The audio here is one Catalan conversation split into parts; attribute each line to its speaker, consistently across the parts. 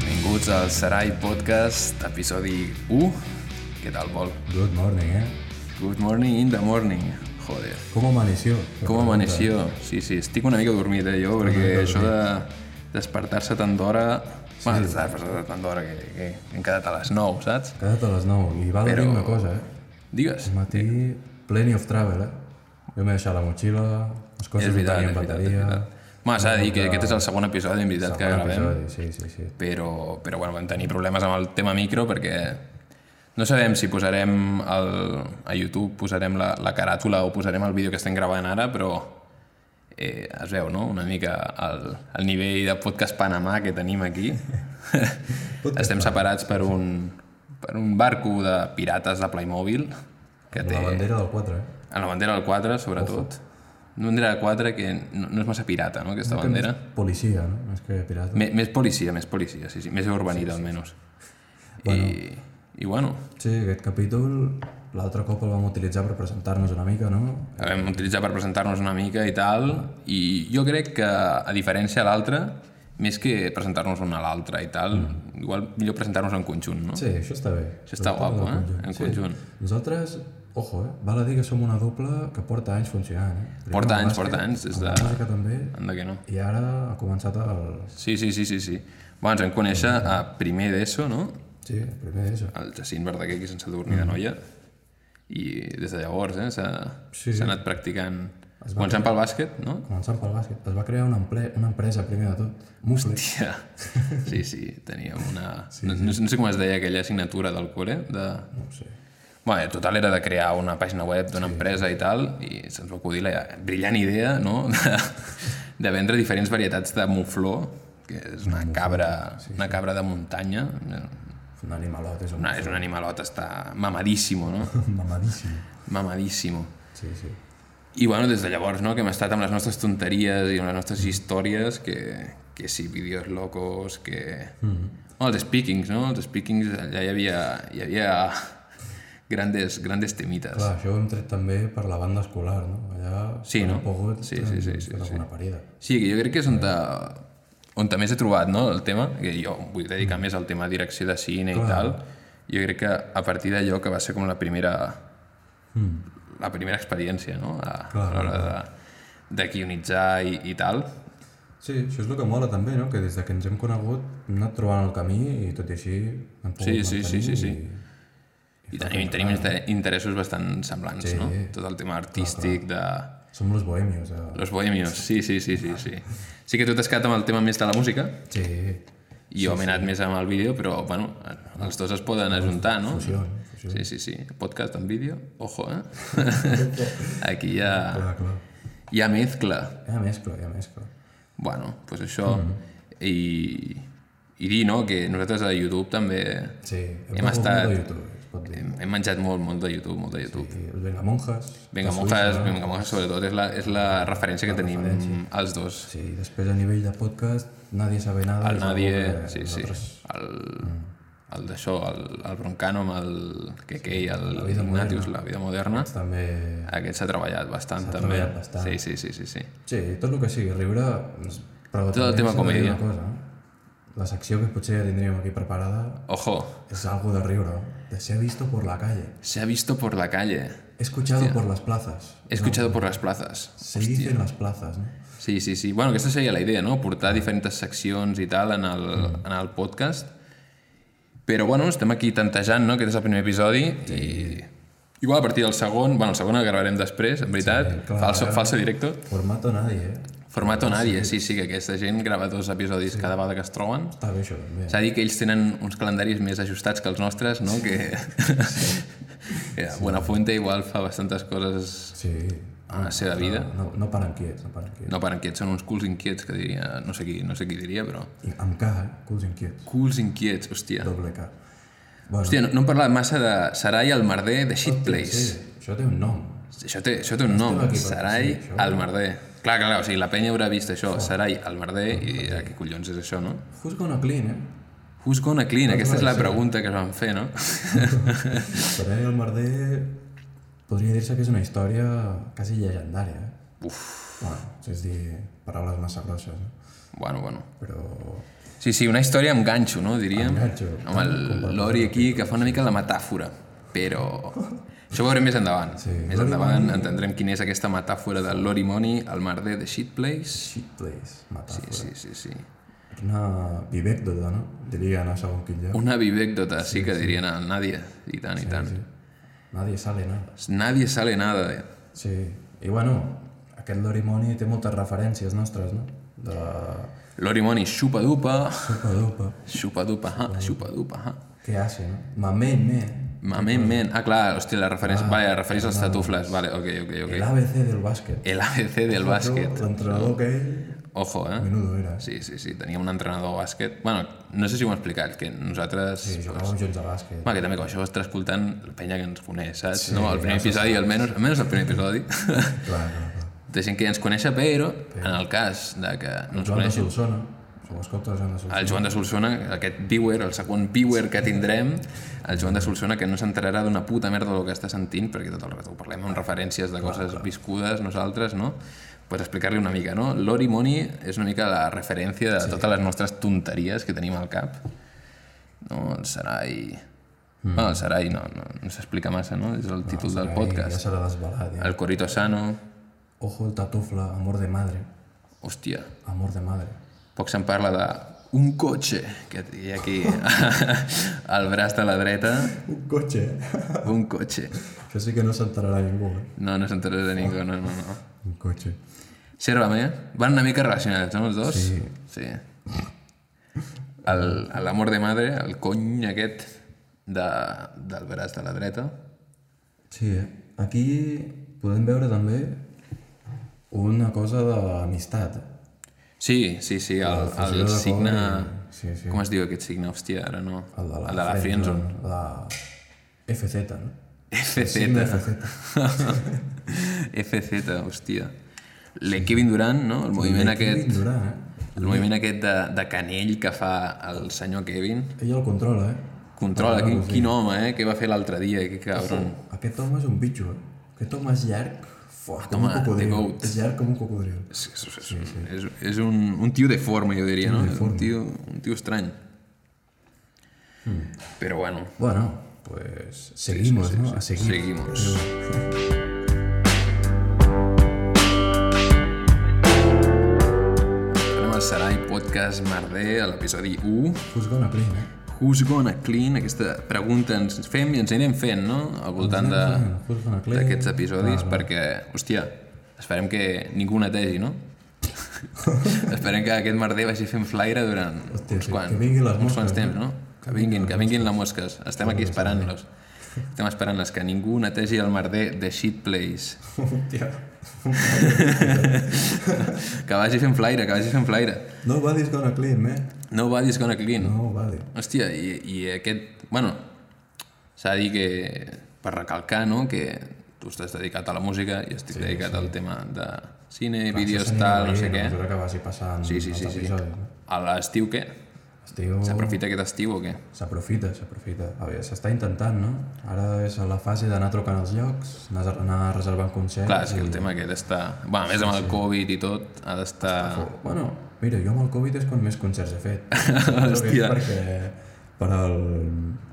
Speaker 1: benvinguts al Sarai Podcast, episodi 1. Què tal, Pol?
Speaker 2: Good morning, ¿eh?
Speaker 1: Good morning in the morning. Joder,
Speaker 2: ¿Cómo amaneció?
Speaker 1: com amaneció. Sí, sí, estic una mica dormit, eh, jo, perquè
Speaker 2: mica
Speaker 1: això de despertar-se tant d'hora... Sí. Bueno, despertar-se tant d'hora que, que hem quedat a les 9, saps?
Speaker 2: Queda't a les 9 i va Però...
Speaker 1: Però-
Speaker 2: una cosa, eh?
Speaker 1: Digues.
Speaker 2: Al matí, plenty of travel, eh? Jo m'he deixat la motxilla, les coses
Speaker 1: És veritat,
Speaker 2: no
Speaker 1: és
Speaker 2: tenien
Speaker 1: veritat, és
Speaker 2: bateria...
Speaker 1: veritat. Home, s'ha de dir que aquest és el segon episodi, en veritat, que
Speaker 2: Bon
Speaker 1: gravem.
Speaker 2: episodi, sí, sí, sí.
Speaker 1: però, però bueno, vam tenir problemes amb el tema micro perquè no sabem si posarem el, a YouTube posarem la, la caràtula o posarem el vídeo que estem gravant ara, però eh, es veu, no?, una mica el, el nivell de podcast Panamà que tenim aquí. estem separats per un, per un barco de pirates de Playmobil que
Speaker 2: La
Speaker 1: té...
Speaker 2: bandera del 4, eh?
Speaker 1: En la bandera del 4, sobretot. Una bandera del 4 que no, no és massa pirata, no?, aquesta bandera.
Speaker 2: Policia, no? Més que pirata.
Speaker 1: Més, més policia, més policia, sí, sí. Més urbanita, sí, sí. almenys. Bueno. I, I bueno,
Speaker 2: Sí, aquest capítol l'altre cop el vam utilitzar per presentar-nos una mica, no?
Speaker 1: el vam utilitzar per presentar-nos una mica i tal, i jo crec que, a diferència de l'altre, més que presentar-nos un a l'altre i tal, mm. igual millor presentar-nos en conjunt, no?
Speaker 2: Sí, això està bé.
Speaker 1: Això està guapo, eh? En conjunt. Sí.
Speaker 2: Nosaltres, ojo, eh? Val a dir que som una doble que porta anys funcionant, eh? Primer
Speaker 1: Porta
Speaker 2: amb
Speaker 1: anys,
Speaker 2: bàsquet,
Speaker 1: porta anys, des
Speaker 2: amb La
Speaker 1: de-
Speaker 2: música també,
Speaker 1: Anda que no.
Speaker 2: i ara ha començat el...
Speaker 1: Sí, sí, sí, sí, sí. Bueno, ens vam conèixer a primer d'ESO, no?
Speaker 2: Sí, el primer és...
Speaker 1: El Jacint Verdaguer, aquí a Sant Sadurní de Noia. I des de llavors, eh, s'ha sí,
Speaker 2: Sí, sí.
Speaker 1: sí. anat practicant... Començant pel bàsquet, no?
Speaker 2: Començant pel bàsquet, es va crear una, emple... una empresa primer de tot, Mufle.
Speaker 1: Ja. Sí, sí, teníem una... Sí, no, no, no sé com es deia aquella assignatura del col·le, de...
Speaker 2: No ho sé.
Speaker 1: Bueno, en total era de crear una pàgina web d'una sí. empresa i tal, i se'ns va acudir la brillant idea, no?, de, de vendre diferents varietats de mufló, que és una cabra, una cabra de muntanya,
Speaker 2: Un animalot, és un...
Speaker 1: una, és un animalot, està mamadísimo, no?
Speaker 2: Mamadíssim.
Speaker 1: Mamadísimo.
Speaker 2: Sí, sí.
Speaker 1: I bueno, des de llavors, no?, que hem estat amb les nostres tonteries i amb les nostres històries, que, que si vídeos locos, que... Mm -hmm. bueno, els speakings, no? Els speakings, allà hi havia, hi havia grandes, grandes temites.
Speaker 2: Clar, això ho hem tret també per la banda escolar, no? Allà...
Speaker 1: Sí,
Speaker 2: quan
Speaker 1: no?
Speaker 2: hem Pogut,
Speaker 1: Sí, sí, sí,
Speaker 2: hem
Speaker 1: sí,
Speaker 2: fet alguna parida.
Speaker 1: Sí, que jo crec que és on, te, on te més he trobat, no?, el tema, que jo em vull dedicar més al tema direcció de cine i tal, jo crec que a partir d'allò que va ser com la primera... Mm. la primera experiència, no?, a, a l'hora de, de guionitzar i, i tal,
Speaker 2: Sí, això és el que mola també, no? Que des de que ens hem conegut hem anat trobant el camí i tot i així hem pogut
Speaker 1: Sí, sí, sí,
Speaker 2: mantenir
Speaker 1: sí, sí.
Speaker 2: I...
Speaker 1: I tenim, tenim inter- interessos bastant semblants, sí. no? Tot el tema artístic de...
Speaker 2: Som los bohemios. Eh?
Speaker 1: Los bohemios, sí, sí, sí, sí, sí. Sí que tu t'has quedat amb el tema més de la música
Speaker 2: Sí,
Speaker 1: i jo m'he anat més amb el vídeo, però, bueno, els dos es poden ajuntar, no?
Speaker 2: fusió, fusió.
Speaker 1: Sí, sí, sí. Podcast en vídeo, ojo, eh? Aquí hi ha,
Speaker 2: Clar, clar.
Speaker 1: hi ha mezcla.
Speaker 2: Hi ha mescla, hi ha mescla.
Speaker 1: Bueno, doncs pues això... I, I dir, no?, que nosaltres a YouTube també
Speaker 2: Sí, hem,
Speaker 1: Hem
Speaker 2: hem
Speaker 1: estat-
Speaker 2: estat... De YouTube, es pot dir.
Speaker 1: hem, hem menjat molt, molt de YouTube, molt de YouTube.
Speaker 2: Sí, els Vengamonjas.
Speaker 1: Venga
Speaker 2: els
Speaker 1: Monjas, Venga Monjas sobretot és la, és la referència que tenim els dos.
Speaker 2: Suïssa. Sí, després a nivell de podcast nadie sabe nada.
Speaker 1: El Mm.
Speaker 2: és algo
Speaker 1: Nadie,
Speaker 2: que
Speaker 1: sí, sí.
Speaker 2: nosaltres-
Speaker 1: El, el d'això, el, el Broncano amb el Keke i el Ignatius, la vida moderna.
Speaker 2: També...
Speaker 1: Aquest s'ha treballat bastant, també.
Speaker 2: treballat bastant.
Speaker 1: Sí, sí, sí, sí, sí.
Speaker 2: Sí, tot el que sigui riure... és- Però
Speaker 1: Tot el tema comèdia.
Speaker 2: Cosa, no? la secció que potser ja tindríem aquí preparada
Speaker 1: Ojo,
Speaker 2: Es algo de riure, ¿no? De se ha visto por la calle.
Speaker 1: se ha visto por la calle,
Speaker 2: He escuchado por las plazas.
Speaker 1: he escuchado por las plazas.
Speaker 2: Se dice en las plazas, ¿no?
Speaker 1: Sí, sí, sí. Bueno, aquesta seria la idea, no? Portar diferents seccions i tal en el, en el podcast. Però, bueno, estem aquí tantejant, no? Aquest és el primer episodi sí. i... Igual a partir del segon, bueno, el segon el gravarem després, en veritat. Sí,
Speaker 2: clar.
Speaker 1: falso, falso directo.
Speaker 2: Formato nadie, ¿eh?
Speaker 1: Formato nadie, sí, sí, que aquesta gent grava dos episodis sí. cada vegada que es troben.
Speaker 2: Está bello también.
Speaker 1: S'ha de dir que ells tenen uns calendaris més ajustats que els nostres, no? Que... Ja, Buenafuente igual fa bastantes coses
Speaker 2: Sí.
Speaker 1: a la seva vida.
Speaker 2: No, no paran quiets, no paran quiets.
Speaker 1: No paren quiets, són uns culs inquiets que diria, no sé qui, no sé qui diria, però...
Speaker 2: I amb K, eh? Culs inquiets.
Speaker 1: Culs inquiets, hòstia.
Speaker 2: Doble K. Bueno,
Speaker 1: Hòstia, no, no hem parlat massa de Sarai el merder de Shit Place.
Speaker 2: sí, això té un nom.
Speaker 1: Això té, això té un nom,
Speaker 2: aquí per-
Speaker 1: Sarai
Speaker 2: sí, això. eh?
Speaker 1: el merder. Clar, clar, clar, o sigui, la penya haurà vist això, Sarai el merder, i dirà, què collons és això, no?
Speaker 2: Who's gonna clean, eh?
Speaker 1: Who's gonna clean? Aquesta és la pregunta que es van fer, no?
Speaker 2: Però el merder podria dir-se que és una història quasi llegendària, eh? Uf. Bueno, és a dir, paraules massa grosses, no?
Speaker 1: Bueno, bueno.
Speaker 2: Però...
Speaker 1: Sí, sí, una història amb ganxo, no, diríem?
Speaker 2: Amb ganxo.
Speaker 1: Amb el Lori aquí, que fa una mica la metàfora, però... Això ho veurem més endavant.
Speaker 2: Sí,
Speaker 1: més
Speaker 2: Lori
Speaker 1: endavant
Speaker 2: Money-
Speaker 1: entendrem quina és aquesta metàfora del Lori Money, el merder de Shit Place.
Speaker 2: Shit place,
Speaker 1: Sí,
Speaker 2: metàfora.
Speaker 1: sí, sí, sí.
Speaker 2: Una vivècdota, no? Diria anar a segon quin lloc.
Speaker 1: Una vivècdota, sí, que dirien el Nadia, i tant, i tant.
Speaker 2: Nadie sale, nada.
Speaker 1: Nadie sale nada.
Speaker 2: Sí. I bueno, aquest Lorimoni té moltes referències nostres, no? De...
Speaker 1: Lori Money, xupa dupa,
Speaker 2: Supa dupa.
Speaker 1: xupa dupa, ha, xupa dupa, ha.
Speaker 2: Què hace, no? Mamen, me.
Speaker 1: Mamen, men. Ah, clar, hòstia, la referència... vale, la referència als tatufles. Vale, ok, ok,
Speaker 2: El
Speaker 1: ok.
Speaker 2: ABC del bàsquet.
Speaker 1: El ABC del bàsquet.
Speaker 2: L'entrenador que ell...
Speaker 1: Ojo, eh?
Speaker 2: Menudo era. Sí,
Speaker 1: Sí, sí, sí, teníem un entrenador de bàsquet. bueno, no sé si ho hem explicat, que nosaltres... Sí,
Speaker 2: jugàvem junts a bàsquet.
Speaker 1: Home, que també, com això ho està escoltant la penya que ens coneix, saps? Sí, no, el primer episodi, almenys, almenys el primer episodi,
Speaker 2: Clar, clar, clar.
Speaker 1: de gent que ja ens coneix, però en el cas de que no ens
Speaker 2: Joan de
Speaker 1: coneixi,
Speaker 2: Solsona. Som escoltes Joan de Solsona.
Speaker 1: el Joan de Solsona, aquest viewer, el segon viewer que tindrem, el Joan de Solsona, que no s'entrarà d'una puta merda del que està sentint, perquè tot el rato ho parlem amb referències de coses viscudes nosaltres, no? Pues explicar-li una mica, no? Lori Money és una mica la referència de totes les nostres tonteries que tenim al cap. No, el Sarai... Mm. Bueno, el Sarai no, no, no s'explica massa, no? És el títol del
Speaker 2: Ja
Speaker 1: podcast.
Speaker 2: serà desvelat, ja.
Speaker 1: El Corito Sano...
Speaker 2: Ojo el tatufla, amor de madre.
Speaker 1: Hòstia,
Speaker 2: Amor de madre.
Speaker 1: Poc se'n parla de un cotxe que hi ha aquí al braç de la dreta.
Speaker 2: Un cotxe. eh?
Speaker 1: Un cotxe.
Speaker 2: Això sí que no s'enterarà ningú, eh?
Speaker 1: No, no s'entrarà de ningú, no, no, no.
Speaker 2: Un cotxe.
Speaker 1: Sérvame, van una mica relacionats, no, els dos?
Speaker 2: Sí.
Speaker 1: Sí. El- a L'amor de madre, el cony aquest de, del braç de la dreta.
Speaker 2: Sí, eh? Aquí podem veure també una cosa d'amistat.
Speaker 1: Sí, sí, sí, el,
Speaker 2: fusió
Speaker 1: el
Speaker 2: de
Speaker 1: signe...
Speaker 2: cor i- sí, sí.
Speaker 1: Com es diu aquest signe? Hòstia, ara no.
Speaker 2: El de la,
Speaker 1: el de la Friendzone.
Speaker 2: La FZ, no?
Speaker 1: FZ.
Speaker 2: Signe FZ.
Speaker 1: FZ, hòstia. Le Kevin Durant, no? El moviment aquest...
Speaker 2: Kevin Durant, eh?
Speaker 1: El moviment aquest de, de canell que fa el senyor Kevin.
Speaker 2: Ell el controla, eh?
Speaker 1: Controla, quin, quin home, eh? Què va fer l'altre dia, que cabron.
Speaker 2: Aquest home és un bitxo, eh? Aquest home és llarg, fuà, com
Speaker 1: Home,
Speaker 2: un cocodril.
Speaker 1: the goat.
Speaker 2: És llarg com un cocodril.
Speaker 1: És, és, és, és, és un, un tio deforme, jo diria, no? És un tio, un tio estrany. Però bueno,
Speaker 2: Bueno, pues seguimos, ¿no? A seguir.
Speaker 1: seguimos. Anem al Sarai Podcast Merder, a l'episodi 1.
Speaker 2: Juzga una prima, eh?
Speaker 1: Who's gonna clean? Aquesta pregunta ens fem i ens anirem fent, no? Al voltant de-
Speaker 2: Juzga una clean. Ah,
Speaker 1: d'aquests episodis, perquè, hòstia, esperem que ningú netegi, no? esperem que aquest merder vagi fent flaire durant
Speaker 2: Hòstia,
Speaker 1: uns
Speaker 2: sí,
Speaker 1: quants,
Speaker 2: que vinguin les
Speaker 1: uns
Speaker 2: mosques, eh?
Speaker 1: quants temps, no? Que vinguin, que vinguin les mosques. Estem aquí esperant-los. Estem esperant-les, que ningú netegi el merder de Shit Place.
Speaker 2: Hòstia.
Speaker 1: Que vagi fent flaire, que vagi fent flaire.
Speaker 2: Nobody's gonna clean, eh? man.
Speaker 1: Nobody's gonna clean.
Speaker 2: Nobody.
Speaker 1: Hòstia, i, i aquest... Bueno, s'ha de dir que, per recalcar, no?, que tu estàs dedicat a la música i estic sí, dedicat sí. al tema de cine, Clar, vídeos, tal, no sé què.
Speaker 2: A mesura que vagi passant
Speaker 1: Sí, sí, sí.
Speaker 2: els
Speaker 1: sí.
Speaker 2: episodis, no?
Speaker 1: A l'estiu, què?
Speaker 2: Estiu...
Speaker 1: S'aprofita aquest estiu o què?
Speaker 2: S'aprofita, s'aprofita. A veure, s'està intentant, no? Ara és a la fase d'anar trucant als llocs, anar, anar reservant concerts...
Speaker 1: Clar, és que el tema aquest està... Bé, a més amb el Covid i tot, ha d'estar...
Speaker 2: Oh, Bueno, mira, jo amb el Covid és quan més concerts he fet. Hòstia. Perquè, per el,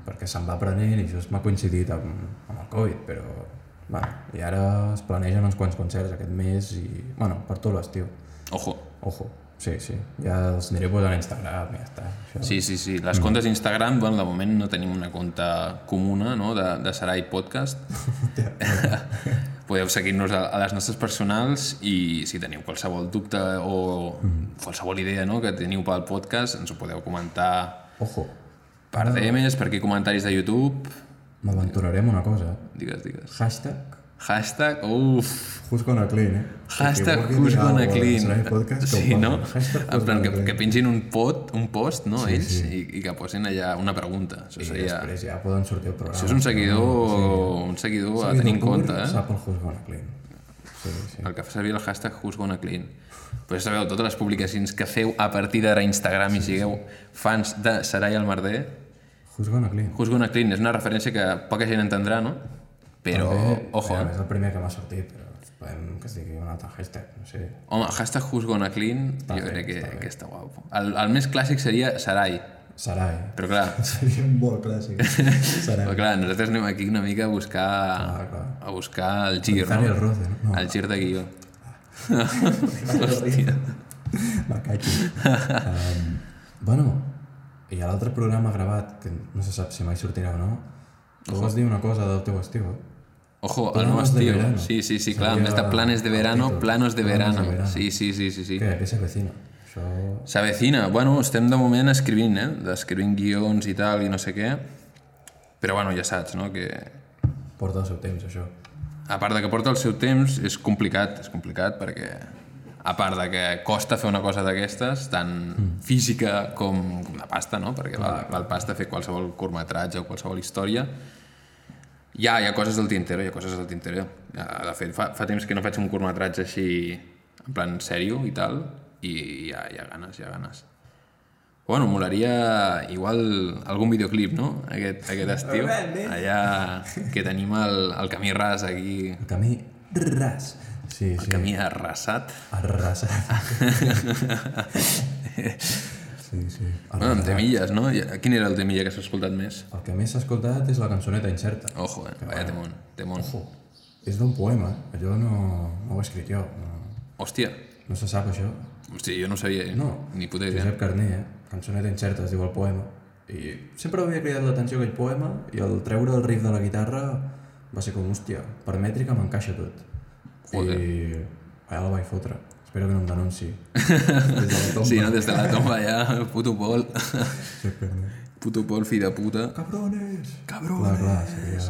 Speaker 2: perquè se'n va prenent i just m'ha coincidit amb, amb el Covid, però... Va, i ara es planegen uns quants concerts aquest mes i... Bueno, per tot l'estiu.
Speaker 1: Ojo.
Speaker 2: Ojo. Sí, sí. Ja els aniré posant a Instagram i ja està. Això.
Speaker 1: Sí, sí, sí.
Speaker 2: Mm.
Speaker 1: Les comptes d'Instagram, bueno, de moment no tenim una compta comuna, no?, de, de Sarai Podcast.
Speaker 2: Hòstia.
Speaker 1: Podeu seguir-nos a, a les nostres personals i si teniu qualsevol dubte o
Speaker 2: Mm.
Speaker 1: qualsevol idea no, que teniu pel podcast, ens ho podeu comentar
Speaker 2: Ojo.
Speaker 1: per DMs, per aquí comentaris de YouTube...
Speaker 2: M'aventuraré en una cosa. eh?
Speaker 1: Digues, digues.
Speaker 2: Hashtag
Speaker 1: Hashtag, uf,
Speaker 2: Who's gonna clean, eh?
Speaker 1: hashtag
Speaker 2: Qui vulgui
Speaker 1: who's
Speaker 2: dir
Speaker 1: gonna
Speaker 2: alguna cosa sobre
Speaker 1: clean.
Speaker 2: el podcast, que ho
Speaker 1: Sí,
Speaker 2: posi.
Speaker 1: no? En
Speaker 2: Hashtag
Speaker 1: plan,
Speaker 2: who's gonna
Speaker 1: que,
Speaker 2: clean.
Speaker 1: que pengin un pot, un post, no, ells, i, i que posin allà una pregunta. Això
Speaker 2: I
Speaker 1: seria...
Speaker 2: després ja poden sortir el programa.
Speaker 1: Això és un seguidor, un seguidor a
Speaker 2: Qui
Speaker 1: tenir en
Speaker 2: no cobri
Speaker 1: compte, eh?
Speaker 2: Sap el Who's gonna clean. Sí, sí.
Speaker 1: El que fa servir el hashtag Who's Gonna Clean. Però ja sabeu, totes les publicacions que feu a partir d'ara a Instagram i sigueu fans de Sarai el Merder,
Speaker 2: Who's gonna clean.
Speaker 1: Who's Gonna Clean és una referència que poca gent entendrà, no? Però,
Speaker 2: També,
Speaker 1: ojo,
Speaker 2: mira,
Speaker 1: eh?
Speaker 2: És el primer que m'ha sortit, però podem que es digui un altre hashtag, no sé.
Speaker 1: Home, hashtag Who's Gonna Clean, jo
Speaker 2: bé,
Speaker 1: crec que,
Speaker 2: està bé.
Speaker 1: que està guapo. El, el més clàssic seria Sarai,
Speaker 2: Sarai.
Speaker 1: però clar,
Speaker 3: Seria un molt clàssic. Serà.
Speaker 1: però clar nosaltres anem aquí una mica a buscar,
Speaker 2: Clar, clar.
Speaker 1: a buscar el gir,
Speaker 2: Dani el
Speaker 1: no?
Speaker 2: Roce, no?
Speaker 1: El gir de guió.
Speaker 3: Hòstia.
Speaker 2: Me cacho. Um, bueno, hi ha l'altre programa gravat, que no se sap si mai sortirà o no. Tu vas dir una cosa del teu estiu, eh?
Speaker 1: Ojo, el
Speaker 2: Planos
Speaker 1: nou
Speaker 2: de
Speaker 1: estiu.
Speaker 2: verano.
Speaker 1: Sí, sí, sí,
Speaker 2: Seria
Speaker 1: clar, més de planes de
Speaker 2: el
Speaker 1: verano,
Speaker 2: títol.
Speaker 1: planos de
Speaker 2: Planos de
Speaker 1: verano.
Speaker 2: verano.
Speaker 1: Sí, sí, sí, sí, sí.
Speaker 2: Què? Què s'avecina? Això...
Speaker 1: S'avecina. Bueno, estem de moment escrivint, eh? Escrivint guions i tal, i no sé què. Però bueno, ja saps, no? Que
Speaker 2: Porta el seu temps, això.
Speaker 1: a part de que porta el seu temps, és complicat, és complicat perquè a part de que costa fer una cosa d'aquestes, tant física com, com de pasta, no? Perquè val, val pasta fer qualsevol curtmetratge o qualsevol història, hi ha, hi ha coses del tintero, hi ha coses del tintero. Ja, De fet, fa, fa temps que no faig un curtmetratge així, en plan sèrio i tal, i hi ha, hi ha ganes, hi ha ganes. Bueno, molaria igual algun videoclip, no? Aquest, aquest estiu. Allà que tenim el, el camí ras aquí,
Speaker 2: El camí ras. Sí, sí.
Speaker 1: el camí arrasat.
Speaker 2: Arrasat. sí, sí.
Speaker 1: Bueno, amb
Speaker 2: Arrasat.
Speaker 1: temilles, no? I- Quin era el temilla que s'ha escoltat més?
Speaker 2: El que més s'ha escoltat és la cançoneta incerta.
Speaker 1: Ojo, eh? Vaya temón, temón.
Speaker 2: Ojo. És d'un poema, eh? Allò no, no ho he escrit jo. No,
Speaker 1: Hòstia,
Speaker 2: no se sap, això.
Speaker 1: hòstia, jo no ho sabia, eh?
Speaker 2: No.
Speaker 1: ni puta idea.
Speaker 2: Josep Carné, eh? Cançoneta incerta, es diu el poema. I sempre havia cridat l'atenció aquell poema i el treure el riff de la guitarra va ser com, hòstia, per mètrica m'encaixa tot. Joder. I allà la vaig fotre. Espero que no em denunci.
Speaker 1: Sí, no? Des de la tomba ja, puto Pol.
Speaker 2: Josep Carné.
Speaker 1: Puto Pol, fill de puta.
Speaker 2: Cabrones! Cabrones! Clar, clar, seria...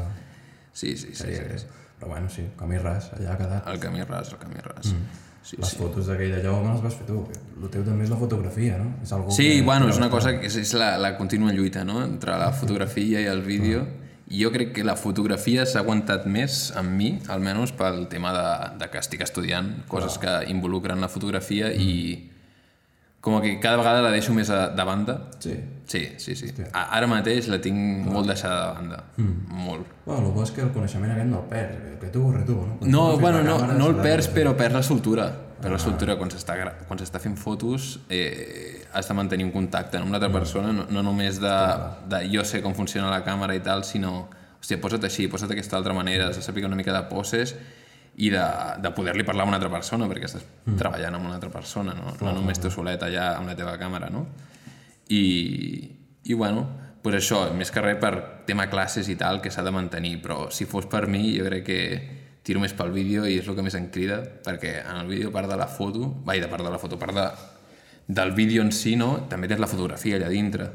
Speaker 1: Sí, sí, sí.
Speaker 2: seria
Speaker 1: sí.
Speaker 2: greu. Però bueno, sí, camí ras, allà ha quedat.
Speaker 1: El camí ras, el camí ras. Mm. Sí,
Speaker 2: Les fotos d'aquell allò me les vas fer tu. El teu també és la fotografia, no? És algo
Speaker 1: sí bueno, és una cosa que és, és la, la contínua lluita, no?, entre la fotografia i el vídeo. I jo crec que la fotografia s'ha aguantat més amb mi, almenys pel tema de, de que estic estudiant, coses que involucren la fotografia i com que cada vegada la deixo més a, de banda.
Speaker 2: Sí.
Speaker 1: Sí, sí, sí. A, ara mateix la tinc molt deixada de banda. Mm. Molt.
Speaker 2: Bueno, el bo és que el coneixement aquest no el perds, eh? que- que tu ho retu, no? Quan tu
Speaker 1: No,
Speaker 2: fes
Speaker 1: bueno,
Speaker 2: la
Speaker 1: no,
Speaker 2: càmera,
Speaker 1: no el
Speaker 2: s'ha de-
Speaker 1: perds, però perds la soltura. Perds la soltura. Quan s'està gra- quan s'està fent fotos eh, has de mantenir un contacte no? amb l'altra persona, no, no només de, de jo sé com funciona la càmera i tal, sinó, hòstia, posa't així, posa't d'aquesta altra manera, has de saber una mica de poses i de, de poder-li parlar a una altra persona, perquè estàs treballant amb una altra persona, no, no només tu solet allà amb la teva càmera, no? I, i bueno, pues això, més que res per tema classes i tal, que s'ha de mantenir, però si fos per mi, jo crec que tiro més pel vídeo i és el que més em crida, perquè en el vídeo, a part de la foto, vai, de part de la foto, a part de, del vídeo en si, no? També tens la fotografia allà dintre.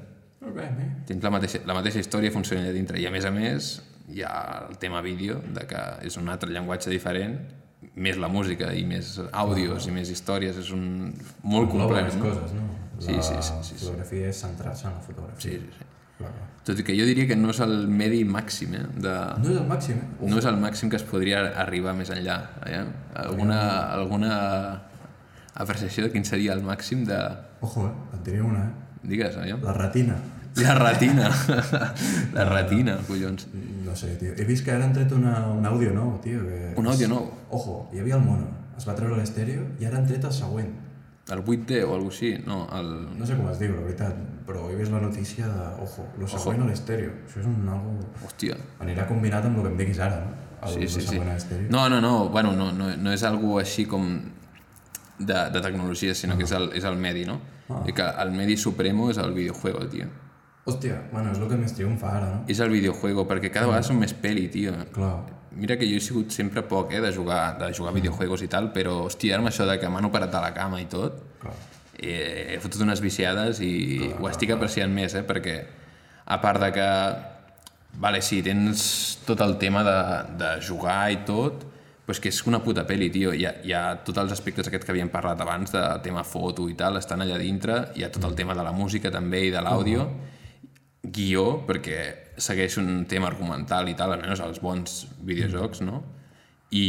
Speaker 2: Molt bé, eh?
Speaker 1: Tens la mateixa, la mateixa història funciona allà dintre. I a més a més, hi ha el tema vídeo, de que és un altre llenguatge diferent, més la música i més àudios i més històries, és un... molt
Speaker 2: Engloba més
Speaker 1: complex, no?
Speaker 2: coses, no?
Speaker 1: Sí,
Speaker 2: La
Speaker 1: sí, sí, sí, sí.
Speaker 2: fotografia és centrar-se en la fotografia.
Speaker 1: Sí, sí, sí.
Speaker 2: Clar, clar.
Speaker 1: Tot i que jo diria que no és el medi màxim, eh? De...
Speaker 2: No és el màxim, eh?
Speaker 1: No és el màxim que es podria arribar més enllà. Eh? Alguna, alguna apreciació de quin seria el màxim de...
Speaker 2: Ojo, eh? Et diré una, eh?
Speaker 1: Digues, eh?
Speaker 2: La retina.
Speaker 1: La retina. La retina, collons.
Speaker 2: No sé, tio. He vist que ara han tret una, un àudio nou, tio. Que...
Speaker 1: Un àudio nou.
Speaker 2: Ojo, hi havia el mono, es va treure l'estèreo i ara han tret el següent.
Speaker 1: El 8D o alguna així. No, el...
Speaker 2: No sé com es diu, la veritat, però he vist la notícia de, ojo, lo següent a l'estèreo. Això és un algo...
Speaker 1: Hòstia.
Speaker 2: Anirà combinat amb el que em diguis ara, no? El,
Speaker 1: Sí, sí,
Speaker 2: lo
Speaker 1: sí.
Speaker 2: següent a l'estèreo.
Speaker 1: No, no, no. Bueno, no, no, no és algo així com de, de tecnologia, sinó que és el, és el medi, no? I que el medi supremo és el videojuego, tio.
Speaker 2: Hòstia, bueno, és el que més triomfa ara, no?
Speaker 1: És el videojuego, perquè cada vegada són més peli, tio.
Speaker 2: Clar,
Speaker 1: Mira que jo he sigut sempre poc, eh, de jugar, de jugar a videojuegos i tal, però, hòstia, ara amb això de que m'han operat a la cama i tot,
Speaker 2: clar.
Speaker 1: eh, he fotut unes viciades i ho estic apreciant més, eh, perquè a part de que, vale, sí, tens tot el tema de, de jugar i tot, però és que és una puta peli, tio. Hi ha, hi ha tots els aspectes aquests que havíem parlat abans, de tema foto i tal, estan allà dintre, hi ha tot el tema de la música també i de l'àudio, guió, perquè segueix un tema argumental i tal, almenys als bons videojocs, no? I,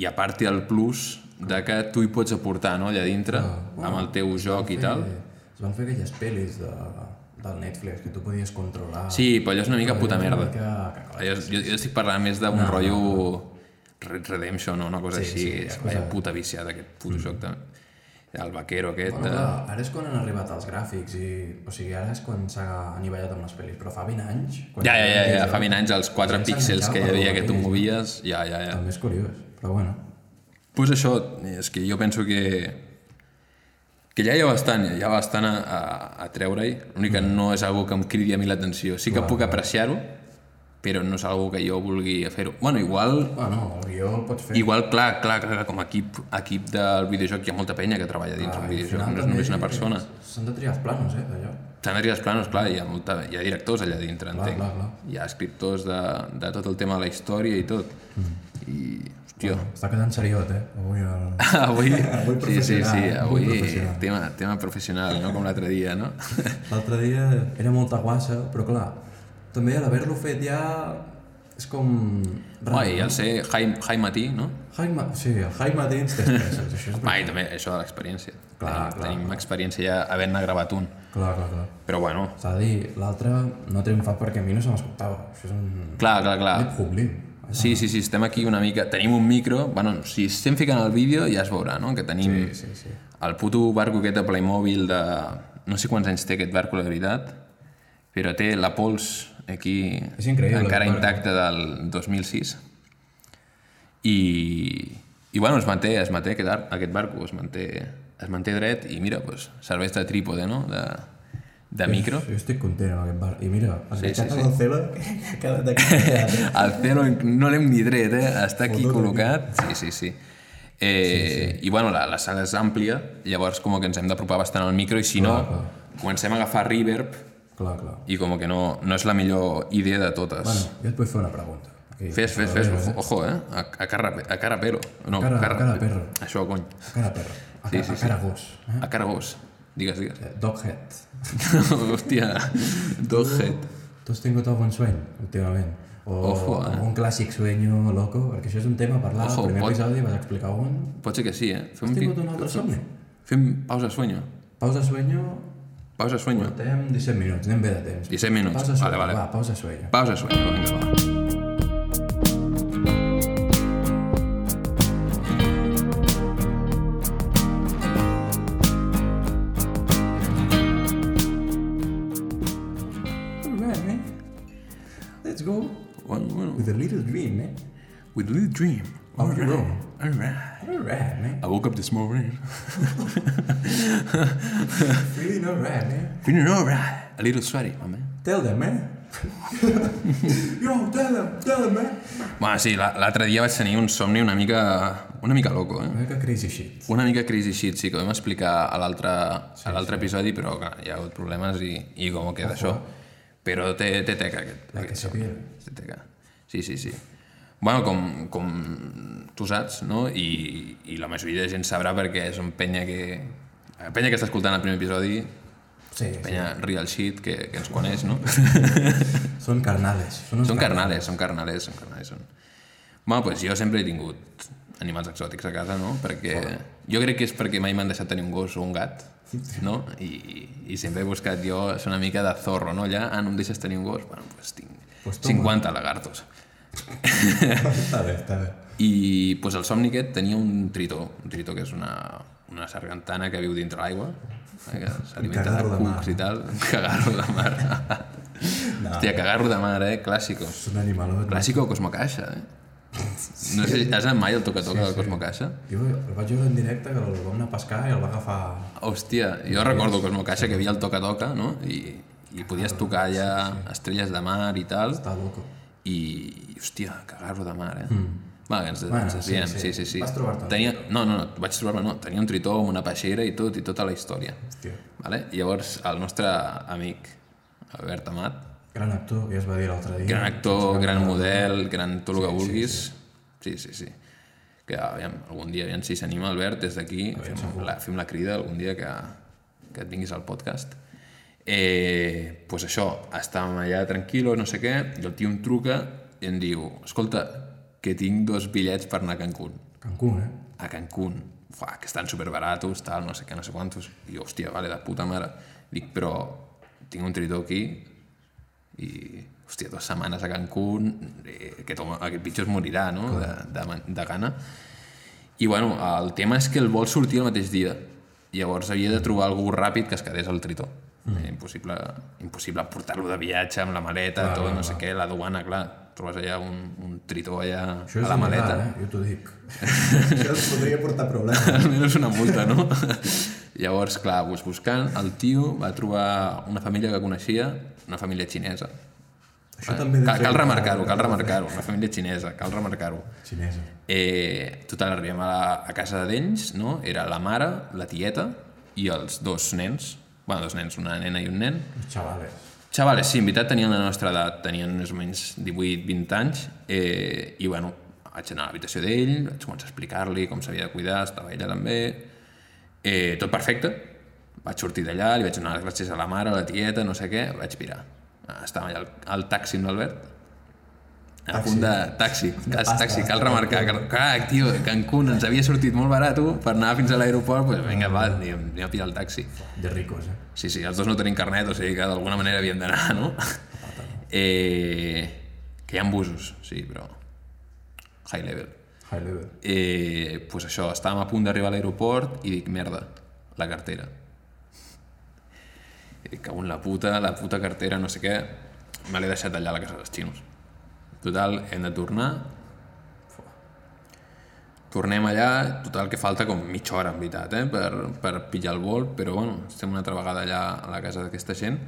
Speaker 1: i a part té el plus de que tu hi Ah, pots aportar, no?, allà dintre, amb el teu joc i tal.
Speaker 2: Eh, es van fer aquelles pel·lis de... del Netflix, que tu podies controlar...
Speaker 1: Sí, però allò és una mica
Speaker 2: Però
Speaker 1: puta
Speaker 2: és una
Speaker 1: merda.
Speaker 2: mica cacaotes,
Speaker 1: Allò, és- jo, jo estic parlant més d'un Ah, no, rotllo Red Redemption o una cosa
Speaker 2: Sí,
Speaker 1: així.
Speaker 2: sí,
Speaker 1: és
Speaker 2: és
Speaker 1: vaya
Speaker 2: cosa-
Speaker 1: puta viciada aquest puto joc també. El vaquero aquest...
Speaker 2: Bueno,
Speaker 1: eh,
Speaker 2: clar, ara és quan han arribat els gràfics i... O sigui, ara és quan s'ha anivellat amb les pel·lis, però fa 20 anys... Quan
Speaker 1: Ja, ja, ja, ja,
Speaker 2: jo-
Speaker 1: fa 20 anys els 4
Speaker 2: la gent
Speaker 1: píxels que hi
Speaker 2: s'enganxava
Speaker 1: havia que tu
Speaker 2: per la pel·li.
Speaker 1: movies, ja, ja, ja.
Speaker 2: També és curiós, però bueno.
Speaker 1: pues això, és que jo penso que que ja hi ha bastant, hi ha bastant a, a, a treure-hi, l'únic
Speaker 2: Mm.
Speaker 1: que no és algo que em cridi a mi l'atenció. Sí que puc apreciar-ho, però no és algo que jo vulgui fer-ho. Bueno, igual,
Speaker 2: Bueno, el guió el pots fer...
Speaker 1: igual clar, clar, clar, com a equip, equip del videojoc hi ha molta penya que treballa dins
Speaker 2: Ah,
Speaker 1: d'un
Speaker 2: al
Speaker 1: videojoc,
Speaker 2: final
Speaker 1: no és només
Speaker 2: també
Speaker 1: una persona.
Speaker 2: S'han de triar els planos, eh, d'allò.
Speaker 1: S'han de triar els planos, clar, hi ha, molta, hi ha directors allà dintre,
Speaker 2: Clar,
Speaker 1: entenc.
Speaker 2: clar, clar.
Speaker 1: Hi ha escriptors de, de tot el tema de la història i tot.
Speaker 2: Mm.
Speaker 1: I, hòstia,
Speaker 2: Està quedant seriós, eh, avui el...
Speaker 1: avui, sí, sí,
Speaker 2: professional,
Speaker 1: sí,
Speaker 2: eh?
Speaker 1: avui
Speaker 2: Avui professional.
Speaker 1: tema, tema professional, no com l'altre dia, no?
Speaker 2: L'altre dia era molta guassa, però clar, també a l'haver-lo fet ja és com... raro.
Speaker 1: Uai, el ser high, high matí, no?
Speaker 2: Jaime, sí, el Jaime dins després, això és...
Speaker 1: Uai, també, això de l'experiència.
Speaker 2: Clar,
Speaker 1: tenim,
Speaker 2: clar.
Speaker 1: tenim experiència ja havent-ne gravat un.
Speaker 2: Clar, clar, clar.
Speaker 1: Però bueno,
Speaker 2: S'ha de dir, l'altre no ha triomfat perquè a mi no se m'escoltava. Això és un...
Speaker 1: clar, clar, clar.
Speaker 2: Publi.
Speaker 1: Sí, sí, sí, estem aquí una mica... Tenim un micro... Bueno, si estem ficant el vídeo ja es veurà, no? Que tenim
Speaker 2: Sí, sí, sí.
Speaker 1: el puto barco aquest de Playmobil de... No sé quants anys té aquest barco, la veritat, però té la pols aquí
Speaker 2: És increïble,
Speaker 1: encara
Speaker 2: el barco.
Speaker 1: intacta del 2006. I, i bueno, es manté, es manté aquest, ar- aquest barco, es manté, es manté dret i mira, pues, serveix de trípode, no? De, de micro.
Speaker 2: Jo estic content amb aquest bar. I mira,
Speaker 1: Sí, sí, sí.
Speaker 3: El Celo, que ha quedat aquí.
Speaker 1: El Celo no l'hem ni dret, eh? Està aquí col·locat. Sí, sí, sí. Eh, sí, sí. I bueno, la, la sala és àmplia, llavors com que ens hem d'apropar bastant al micro i si no, comencem a agafar reverb
Speaker 2: Clar, clar.
Speaker 1: i com que no, no és la millor idea de totes.
Speaker 2: Bueno, jo et vull fer una pregunta. Aquí,
Speaker 1: fes, fes, fes, ojo, eh? A, a, cara, a cara perro. No,
Speaker 2: A cara- a cara perro.
Speaker 1: Això, cony.
Speaker 2: A cara perro. A,
Speaker 1: Sí,
Speaker 2: sí,
Speaker 1: sí,
Speaker 2: sí, a cara gos. Eh?
Speaker 1: A cara gos. Digues, digues.
Speaker 2: Eh, Doghead.
Speaker 1: Hòstia, doghead.
Speaker 2: Tu has tingut algun sueño últimament? O
Speaker 1: Ojo, eh?
Speaker 2: algun clàssic sueño loco? Perquè això és un tema a parlar
Speaker 1: Ojo,
Speaker 2: al primer
Speaker 1: pot-
Speaker 2: episodi, vas explicar un.
Speaker 1: Pot ser que sí, eh? Fem,
Speaker 2: Has
Speaker 1: pi-
Speaker 2: tingut un altre somni?
Speaker 1: fem pausa sueño.
Speaker 2: Pausa sueño,
Speaker 1: Pausa sueño.
Speaker 2: portem 17 minuts, anem bé de temps.
Speaker 1: 17 minuts.
Speaker 2: Pausa sueño,
Speaker 1: Vale, vale.
Speaker 2: va, pausa sueño.
Speaker 1: Pausa sueño, vinga, va.
Speaker 2: Alright, man. eh? Let's go
Speaker 1: Bueno, bueno.
Speaker 2: with a little dream, eh? man.
Speaker 1: With a little dream.
Speaker 2: Of your own.
Speaker 1: Alright.
Speaker 2: Alright, man.
Speaker 1: Oh, I woke up this morning
Speaker 2: Feeling alright, man.
Speaker 1: feeling alright. A little sweaty, my man.
Speaker 2: eh? Tell them, man. Yo, tell them, tell them, eh? man.
Speaker 1: Bueno, sí, la- l'altre dia vaig tenir un somni una mica... una mica loco, eh?
Speaker 2: Una mica crazy shit.
Speaker 1: Una mica crazy shit, sí, que ho vam explicar a l'altre a l'altre episodi, però clar, hi ha hagut problemes i, i com queda això. Però té, té teca aquest.
Speaker 2: La que se pierde.
Speaker 1: Té teca. Sí, sí, sí. Bueno, com, com tu saps, no? I, I la majoria de gent sabrà perquè és un penya que... la Penya que està escoltant el primer episodi,
Speaker 2: Sí, sí.
Speaker 1: penya real shit, que, que ens coneix, no?
Speaker 2: Són carnales. Són, uns
Speaker 1: Són carnales, són carnales, són carnales. Són... Bueno, pues jo sempre he tingut animals exòtics a casa, no? Perquè jo crec que és perquè mai m'han deixat tenir un gos o un gat, no? I, i sempre he buscat jo, és una mica de zorro, no? Allà, ah, no em deixes tenir un gos? Bueno, pues tinc
Speaker 2: Pues toma.
Speaker 1: 50 lagartos.
Speaker 2: està bé, està bé.
Speaker 1: I pues, el somni aquest tenia un tritó, un tritó que és una, una sargantana que viu dintre l'aigua, eh, que s'alimenta de
Speaker 3: cagarro de mar.
Speaker 1: cucs i tal, un cagarro de mar.
Speaker 3: No.
Speaker 1: Hòstia, cagarro de mar, eh? Clàssico.
Speaker 2: És un animalot.
Speaker 1: Clàssico Cosmocaixa, eh? No sé, has anat mai al toca-toca de Cosmocaixa?
Speaker 2: Jo el vaig veure en directe, que el vam anar a pescar i el va agafar...
Speaker 1: Hòstia, jo recordo Cosmocaixa que havia el toca-toca, no? I,
Speaker 2: Ah,
Speaker 1: i podies tocar allà estrelles de mar i tal,
Speaker 2: Està loco.
Speaker 1: i, hòstia, cagar-lo de mar, eh?
Speaker 2: Mm.
Speaker 1: Va, que ens, ens desviem, sí, sí, sí.
Speaker 2: Vas trobar-te un
Speaker 1: Tenia... No, no, no, vaig trobar-me, no. Tenia un tritó amb una peixera i tot, i tota la història.
Speaker 2: Hòstia.
Speaker 1: Vale? I llavors el nostre amic, Albert Amat,
Speaker 2: Gran actor, ja es va dir l'altre dia.
Speaker 1: gran actor, gran model, gran tot el que vulguis. Sí, sí, sí. Que aviam, algun dia, aviam si s'anima Albert, des d'aquí, fem, la- fem la crida algun dia que, que et vinguis al podcast. Eh, pues això, estàvem allà tranquil·los, no sé què, i el tio em truca i em diu, escolta, que tinc dos bitllets per anar a Cancún.
Speaker 2: Cancún, eh?
Speaker 1: A Cancún. Fuà, que estan superbaratos, tal, no sé què, no sé quantos. I jo, hòstia, vale, de puta mare. Dic, però tinc un tritó aquí i, hòstia, dues setmanes a Cancún, eh, aquest, home, aquest bitxo es morirà, no?, de, de, de gana. I, bueno, el tema és que el vol sortir el mateix dia. Llavors havia de trobar algú ràpid que es quedés al tritó. Mm. Eh, impossible impossible portar-lo de viatge amb la maleta,
Speaker 2: Clar,
Speaker 1: clar, tot,
Speaker 2: clar,
Speaker 1: no sé
Speaker 2: clar.
Speaker 1: què, la duana, clar, trobes allà un, un tritó allà
Speaker 2: Això és
Speaker 1: a la maleta.
Speaker 2: il·legal, eh? Jo t'ho dic.
Speaker 3: Això ens podria portar problemes.
Speaker 1: almenys una multa, no? Llavors, clar, doncs buscant, el tio va trobar una família que coneixia, una família xinesa.
Speaker 3: Això també...
Speaker 1: Cal, cal remarcar-ho, cal remarcar-ho, una família xinesa, cal remarcar-ho.
Speaker 2: Xinesa.
Speaker 1: Eh, total, arribem a, la, a casa d'ells, no? Era la mare, la tieta i els dos nens. bueno, dos nens, una nena i un nen.
Speaker 2: Los chavales.
Speaker 1: Xavales, sí, en veritat tenien la nostra edat, tenien més o menys 18-20 anys, eh, i bueno, vaig anar a l'habitació d'ell, vaig començar a explicar-li com s'havia de cuidar, estava ella també, eh, tot perfecte, vaig sortir d'allà, li vaig donar les gràcies a la mare, a la tieta, no sé què, vaig pirar. Ah, Estava allà al, al taxi amb l'Albert, a
Speaker 3: Taxi.
Speaker 1: punt de taxi, cas,
Speaker 3: pasta.
Speaker 1: taxi, cal remarcar, cal, clar, tio, Cancún ens havia sortit molt barat per anar fins a l'aeroport, doncs pues, vinga, va, anem, anem a pillar el taxi.
Speaker 2: De ricos, eh?
Speaker 1: Sí, sí, els dos no tenim carnet, o sigui que d'alguna manera havíem d'anar, no? Eh, que hi ha busos, sí, però high level.
Speaker 2: High level.
Speaker 1: Eh, pues això, estàvem a punt d'arribar a l'aeroport i dic, merda, la cartera. I dic, cago en la puta, la puta cartera, no sé què, me l'he deixat allà a la casa dels xinos. Total, hem de tornar. Tornem allà, total, que falta com mitja hora, en veritat, eh, per, per pillar el vol, però bueno, estem una altra vegada allà a la casa d'aquesta gent.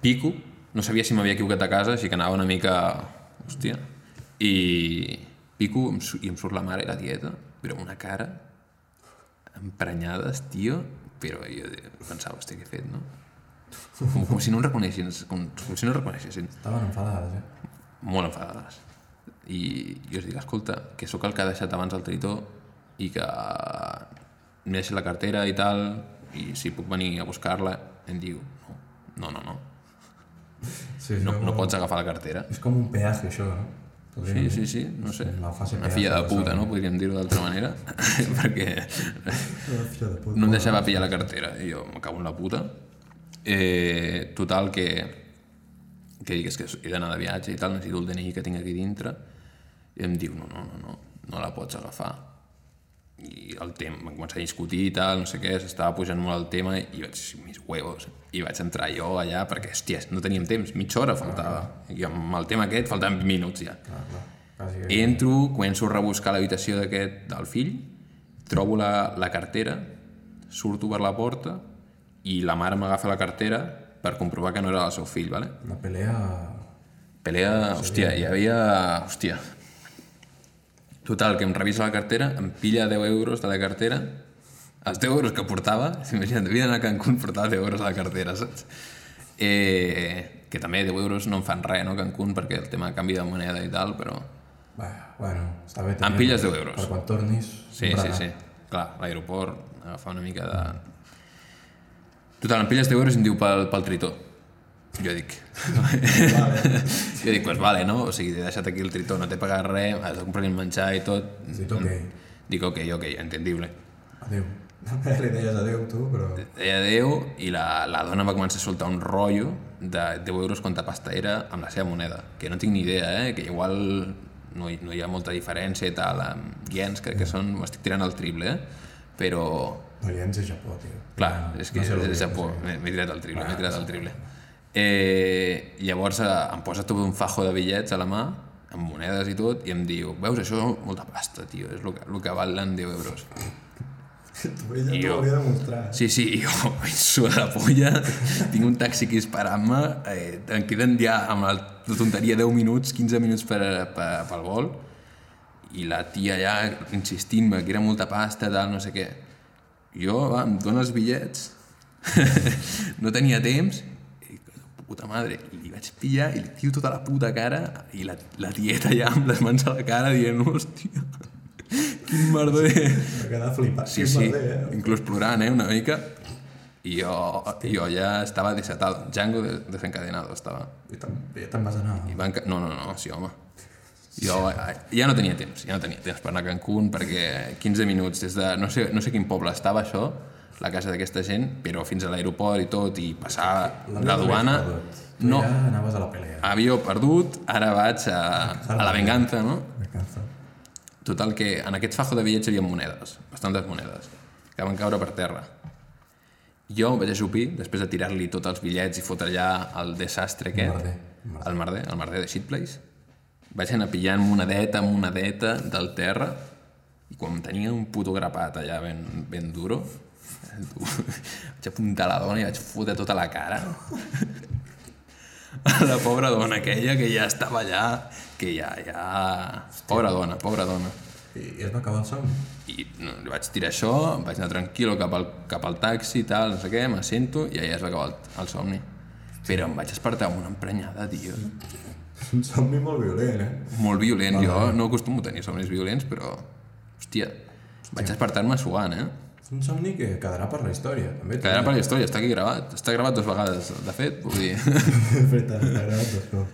Speaker 1: Pico, no sabia si m'havia equivocat a casa, així que anava una mica... Hòstia. I pico em su- i em surt la mare i la tieta, però amb una cara emprenyades, tio, però jo de- pensava, hòstia, què he fet, no? Com, com si no em reconeixessin, com, com si no em reconeixessin
Speaker 2: Estaven enfadades, eh?
Speaker 1: molt enfadades. I jo els dic, escolta, que sóc el que ha deixat abans el tritó i que m'he deixat la cartera i tal, i si puc venir a buscar-la, em diu, no, no, no, no,
Speaker 2: Sí,
Speaker 1: no, no pots agafar la cartera.
Speaker 2: És com un peatge, això, no? Podríem
Speaker 1: Sí,
Speaker 2: dir.
Speaker 1: sí, sí, no sé.
Speaker 2: La fase
Speaker 1: Una
Speaker 2: que
Speaker 1: filla
Speaker 2: ja
Speaker 1: de
Speaker 2: se
Speaker 1: puta,
Speaker 2: passava.
Speaker 1: no? Podríem dir-ho d'altra manera, perquè
Speaker 3: Hòstia de puta.
Speaker 1: no em deixava pillar la cartera. I jo, me cago en la puta. Eh, total, que, que dic, és que he d'anar de viatge i tal, necessito el DNI que tinc aquí dintre. I em diu, no, no, no, no, no la pots agafar. I el tema, vam començar a discutir i tal, no sé què, s'estava pujant molt el tema i vaig dir, mis huevos. I vaig entrar jo allà perquè, hòstia, no teníem temps, mitja hora faltava. I amb el tema aquest faltaven 20 minuts ja.
Speaker 2: Clar, clar. Quasi... que-
Speaker 1: Entro, començo a rebuscar l'habitació d'aquest, del fill, trobo la, la cartera, surto per la porta i la mare m'agafa la cartera per comprovar que no era el seu fill, vale?
Speaker 2: Una pelea...
Speaker 1: Pelea, hòstia, hi havia... Hòstia. Total, que em revisa la cartera, em pilla 10 euros de la cartera, els 10 euros que portava, imagina't, havia d'anar a Cancún, portava 10 euros a la cartera, saps? Eh, que també 10 euros no em fan res, no, a Cancún, perquè el tema canvi de moneda i tal, però...
Speaker 2: Bé, bueno, està bé.
Speaker 1: Em
Speaker 2: tenir-
Speaker 1: pilles 10 euros.
Speaker 2: Per quan tornis...
Speaker 1: Sí, sí, sí. Clar, l'aeroport, agafar una mica de... Total, em pilles 10 euros i em diu pel, pel tritó. Jo dic... jo dic, pues vale, no? O sigui, t'he deixat aquí el tritó, no t'he pagat res, has de comprar el menjar i tot.
Speaker 2: Dit ok.
Speaker 1: Dic, ok, ok, entendible.
Speaker 2: Adéu.
Speaker 3: Li deies adéu tu, però...
Speaker 1: Deia adéu i la, la dona va començar a soltar un rotllo de 10 euros contra pasta era amb la seva moneda, que no tinc ni idea, eh? que igual no hi, no hi ha molta diferència i tal, amb iens crec que són, m'estic tirant al triple, eh? però
Speaker 2: No hi ens a Japó, tio.
Speaker 1: Clar, és que
Speaker 2: no sé Ah,
Speaker 1: no
Speaker 2: el que
Speaker 1: és
Speaker 2: és,
Speaker 1: Japó, m'he m'he tirat al triple, m'he tirat al triple. Eh, llavors eh, em posa tot un fajo de bitllets a la mà, amb monedes i tot, i em diu, veus, això és molta pasta, tio, és el que, el que valen 10 euros.
Speaker 3: Tu, ella
Speaker 1: I
Speaker 3: t'ho
Speaker 1: jo.
Speaker 3: hauria de mostrar.
Speaker 1: Sí, sí, i jo em suda la polla, tinc un taxi aquí esperant-me, eh, em queden ja amb la tonteria 10 minuts, 15 minuts per, per, pel vol, i la tia allà insistint-me que era molta pasta, tal, no sé què. Jo, va, em dona els bitllets, no tenia temps, i dic, puta madre, i li vaig pillar i li tiro tota la puta cara i la, la tieta ja amb les mans a la cara dient, hòstia, quin merder
Speaker 3: Va quedar flipat.
Speaker 1: sí,
Speaker 3: Quin
Speaker 1: sí,
Speaker 3: merder, eh?
Speaker 1: inclús plorant, eh, una mica. I jo, jo ja estava desatado, Django de- desencadenado estava.
Speaker 2: I també te'n vas anar.
Speaker 1: I van... ca- No, no, no, sí, home. Jo eh, ja no tenia temps, ja no tenia temps per anar a Cancún, perquè 15 minuts des de... No sé, no sé quin poble estava això, la casa d'aquesta gent, però fins a l'aeroport i tot, i passar
Speaker 2: La
Speaker 1: la,
Speaker 2: meva
Speaker 1: duana...
Speaker 2: l'he perdut. Tu
Speaker 1: No,
Speaker 2: ja anaves a la pelea.
Speaker 1: avió perdut, ara vaig a, a la venganza, no?
Speaker 2: Me cansa.
Speaker 1: Total, que en aquest fajo de bitllets hi havia monedes, bastantes monedes, que van caure per terra. Jo em vaig ajupir, després de tirar-li tots els bitllets i fotre allà el desastre aquest,
Speaker 2: merder,
Speaker 1: el merder, el merder de Shitplace, vaig anar pillant monedeta, monedeta del terra, i quan tenia un puto grapat allà ben, ben duro, vaig apuntar la dona i vaig fotre tota la cara a la pobra dona aquella que ja estava allà, que ja, ja... Pobra dona, pobra dona.
Speaker 2: I, I es va acabar el son?
Speaker 1: I no, li vaig tirar això, em vaig anar tranquil cap al, cap al taxi i tal, no sé què, m'assento i allà es va acabar el, el somni. Però em vaig despertar amb una emprenyada, tio.
Speaker 2: És un somni molt violent, eh?
Speaker 1: Molt violent. Jo no acostumo a tenir somnis violents, però... Hòstia, vaig despertar-me suant, eh?
Speaker 2: És un somni que quedarà per la història, també.
Speaker 1: Quedarà per la història, està aquí gravat. Està gravat dues vegades, de fet, vull dir...
Speaker 2: De veritat, t'agrada tot això.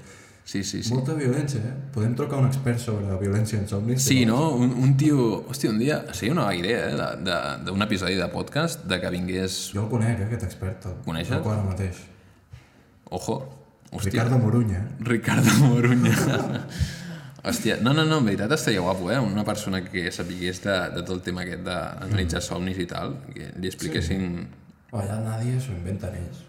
Speaker 1: Sí, sí, sí.
Speaker 2: Molta violència, eh? Podem trucar un expert sobre la violència en somnis?
Speaker 1: Sí, no? Un, un tio... Hòstia, un dia... Seria una vaga idea, eh? de- de- D'un episodi de podcast de que vingués...
Speaker 2: Jo el conec, eh, aquest expert. El
Speaker 1: Coneixes?
Speaker 2: truco ara mateix.
Speaker 1: Ojo. Hòstia.
Speaker 2: Ricardo Morunya. eh?
Speaker 1: Ricardo Morunya. Hòstia, no, no, no, en veritat estaria guapo, eh? Una persona que sapigués de, de tot el tema aquest d'analitzar somnis i tal, que li expliquessin... Mm. Sí.
Speaker 2: O allà nadie s'ho inventen ells.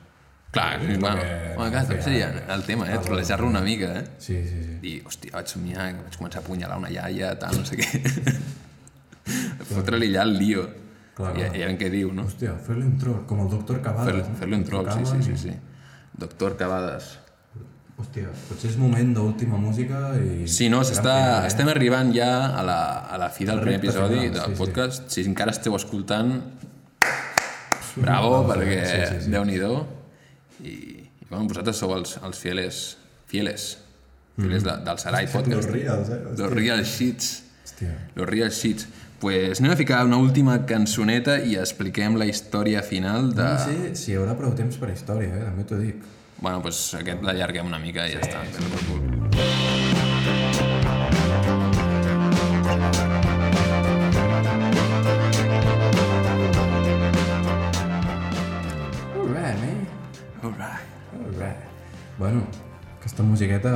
Speaker 1: Clar, sí, bueno,
Speaker 2: que-
Speaker 1: bueno, clar, també seria el tema, eh? Trolejar-lo una mica, eh?
Speaker 2: Sí, sí, sí.
Speaker 1: Dir, hòstia, vaig somiar, que vaig començar a apunyalar una iaia, tal, no sé què. Fotre-li allà el lío.
Speaker 2: Clar,
Speaker 1: I,
Speaker 2: clar.
Speaker 1: I ja què diu, no?
Speaker 2: Hòstia, fer-li un troll, com el doctor Cavada.
Speaker 1: Fer-
Speaker 2: eh?
Speaker 1: Fer-li un troll, sí, sí, sí, sí. Doctor Cavades.
Speaker 2: Hòstia, potser és moment d'última música i...
Speaker 1: Sí, no, s'està...
Speaker 2: Gran final, eh?
Speaker 1: Estem arribant ja a la, a la fi del primer
Speaker 2: recta final,
Speaker 1: episodi
Speaker 2: sí,
Speaker 1: del
Speaker 2: sí.
Speaker 1: podcast. Si encara esteu escoltant, bravo, perquè
Speaker 2: Sí, sí, sí.
Speaker 1: Déu-n'hi-do. I, i bueno, vosaltres sou els, els fieles, fieles,
Speaker 2: Mm.
Speaker 1: fieles de, del Sarai
Speaker 2: Los
Speaker 1: Podcast.
Speaker 2: reals, eh? Hòstia.
Speaker 1: Los real shits.
Speaker 2: Hòstia.
Speaker 1: Los real shits. Pues anem a ficar una última cançoneta i expliquem la història final de...
Speaker 2: No sé si hi haurà prou temps per a història, eh? També t'ho dic.
Speaker 1: Bueno, pues aquest l'allarguem una mica i ja està. Però cool.
Speaker 2: Alright, man.
Speaker 1: Alright.
Speaker 2: Alright. Bueno, aquesta musiqueta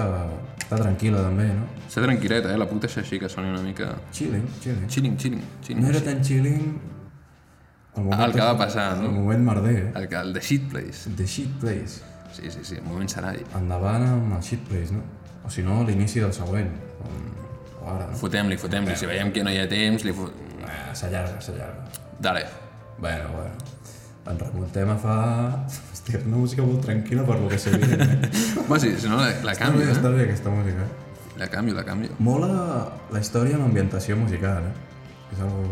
Speaker 2: està tranquil·la també, no?
Speaker 1: Està tranquil·leta, eh? La puc deixar així que soni una mica...
Speaker 2: Chilling, chilling.
Speaker 1: Chilling, chilling, chilling.
Speaker 2: No era tan chilling... El moment,
Speaker 1: El que va passar,
Speaker 2: el
Speaker 1: no?
Speaker 2: moment merder, eh?
Speaker 1: El, que, el de Shit Place.
Speaker 2: The Shit Place.
Speaker 1: Sí, sí, sí, el moment serà...
Speaker 2: Endavant amb el Shit Place, no? O si no, l'inici del següent. O- O ara, no?
Speaker 1: Fotem-li, fotem-li. Si veiem que no hi ha temps, li fot...
Speaker 2: Eh, S'allarga, s'allarga.
Speaker 1: Dale.
Speaker 2: Bueno, bueno. Ens remuntem a fa... Hòstia, és una música molt tranquil·la per lo que s'havia. Eh?
Speaker 1: Va, sí, si no la, la
Speaker 2: Està bé,
Speaker 1: canvio, eh?
Speaker 2: està bé aquesta música. eh?
Speaker 1: La canvio, la canvio.
Speaker 2: Mola la història amb ambientació musical, eh? És algo...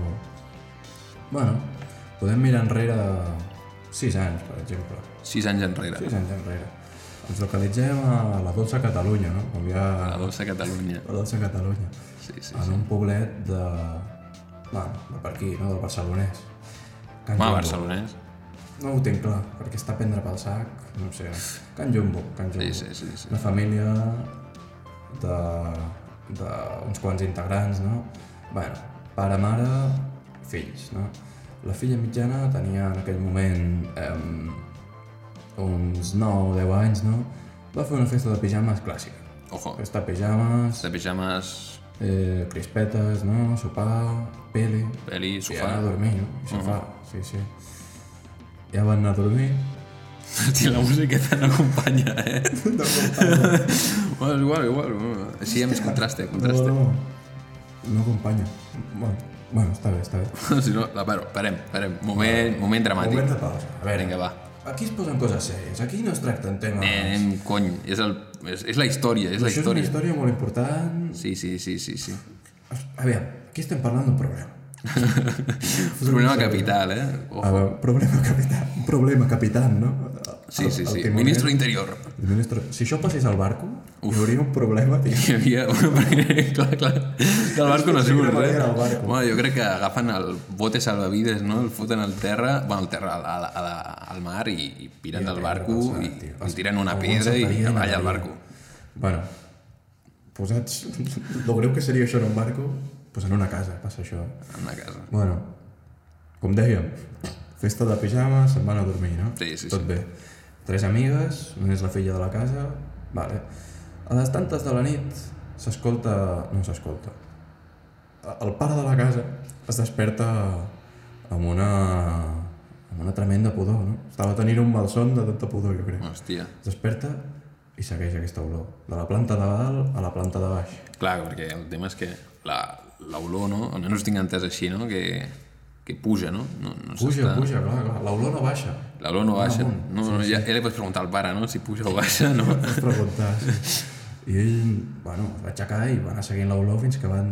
Speaker 2: Bueno, podem mirar enrere 6 anys, per exemple.
Speaker 1: Sis anys enrere.
Speaker 2: 6 anys enrere. Ens localitzem a la dolça Catalunya, no? Com hi ha
Speaker 1: A la dolça Catalunya.
Speaker 2: la dolça Catalunya.
Speaker 1: Sí, sí.
Speaker 2: En un poblet de... Bueno, de per aquí, no? Del barcelonès.
Speaker 1: Home,
Speaker 2: Can Jumbo.
Speaker 1: barcelonès.
Speaker 2: No ho tinc clar, perquè està a prendre pel sac, no ho sé. Can Jumbo, Can Jumbo.
Speaker 1: Sí, sí, sí. sí.
Speaker 2: Una família de d'uns quants integrants, no? bueno, pare, mare, fills, no? La filla mitjana tenia en aquell moment eh, uns 9 o 10 anys, no? Va fer una festa de pijames clàssica.
Speaker 1: Ojo.
Speaker 2: Festa de pijames,
Speaker 1: De pijames,
Speaker 2: eh, crispetes, no? Sopar, peli,
Speaker 1: peli,
Speaker 2: i anar
Speaker 1: sofà...
Speaker 2: a dormir, no? I sofà, sí, sí. Ja van anar a dormir,
Speaker 1: Hòstia, la musiqueta no acompanya, eh? Bueno, és igual, igual. Sí, amb contraste, contraste.
Speaker 2: No, no acompanya. Bueno, bueno, està bé, està bé.
Speaker 1: Si no, la paro. Parem, parem. Moment, moment dramàtic.
Speaker 2: Moment de pausa. A veure,
Speaker 1: Vinga, va.
Speaker 2: aquí es posen coses sèries, aquí no es tracten temes...
Speaker 1: Eh, anem, cony. És, el, és, és la història, és la
Speaker 2: Això és una
Speaker 1: història.
Speaker 2: història molt important...
Speaker 1: Sí, sí, sí, sí, sí.
Speaker 2: A veure, aquí estem parlant d'un problema.
Speaker 1: Problema capital, eh? Oh.
Speaker 2: A veure, problema capital, un problema capital, no?
Speaker 1: Sí, sí, sí.
Speaker 2: timoner-
Speaker 1: Ministre d'Interior.
Speaker 2: El ministre... Si això passés al barco, hi hauria un problema, tio.
Speaker 1: Hi havia una perquè, clar, clar, del barco no
Speaker 2: Sí, sí,
Speaker 1: surt,
Speaker 2: que
Speaker 1: eh?
Speaker 2: era el barco.
Speaker 1: Bueno, jo crec que agafen el bote salvavides, no? El foten al terra, bueno, al terra, a la, a la, al mar i, i piren del barco i, i tiren una pedra i, i balla el barco.
Speaker 2: Bueno, posats... Lo greu que seria això en un barco, pues en una casa passa això.
Speaker 1: En una casa.
Speaker 2: Bueno, com dèiem, Festa de pijama, se'n van a dormir, no?
Speaker 1: Sí, sí,
Speaker 2: Tot
Speaker 1: sí.
Speaker 2: bé. Tres amigues, només la filla de la casa... Vale. A les tantes de la nit s'escolta... No s'escolta. El pare de la casa es desperta amb una... amb una tremenda pudor, no? Estava tenint un malson de tanta pudor, jo crec.
Speaker 1: Hòstia.
Speaker 2: Es desperta i segueix aquesta olor. De la planta de dalt a la planta de baix.
Speaker 1: Clar, perquè el tema és que la- l'olor, no? Almenys tinc entès així, no? Que, que puja, no? no, no
Speaker 2: Puja,
Speaker 1: s'està-
Speaker 2: puja, clar, clar. L'olor no baixa.
Speaker 1: L'olor no baixa. No, no, ja, ja li pots preguntar al pare, no? Si puja o baixa, no?
Speaker 2: Pots preguntar, sí. I ell, bueno, es va aixecar i va anar seguint l'olor fins que van...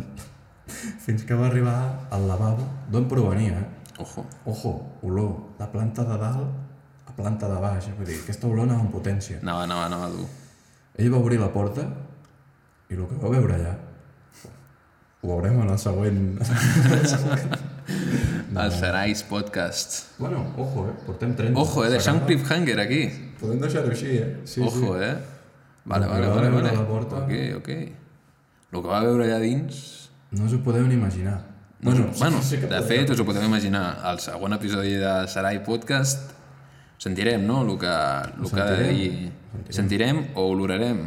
Speaker 2: fins que va arribar al lavabo d'on provenia, eh?
Speaker 1: Ojo.
Speaker 2: Ojo, olor de planta de dalt a planta de baix. eh? Vull dir, aquesta olor anava amb potència.
Speaker 1: Anava, anava, anava dur.
Speaker 2: Ell va obrir la porta i el que va veure allà ho veurem en el següent...
Speaker 1: El Sarais Podcast.
Speaker 2: bueno, ojo, eh? Portem 30.
Speaker 1: Ojo, eh? Deixar un cliffhanger aquí.
Speaker 2: Podem deixar-ho així, eh? Sí,
Speaker 1: Ojo, eh? Vale,
Speaker 2: Lo
Speaker 1: vale,
Speaker 2: que va
Speaker 1: vale.
Speaker 2: veure
Speaker 1: vale.
Speaker 2: a la porta.
Speaker 1: Ok, ok. El que va veure allà dins...
Speaker 2: sí. No us ho podeu ni imaginar.
Speaker 1: eh. Bueno, bueno
Speaker 2: sí que
Speaker 1: de
Speaker 2: podeu.
Speaker 1: fet, us ho podeu imaginar. Al segon episodi de Sarai Podcast sentirem, no?, el que, el que ha de
Speaker 2: sentirem.
Speaker 1: dir. Sentirem o olorarem.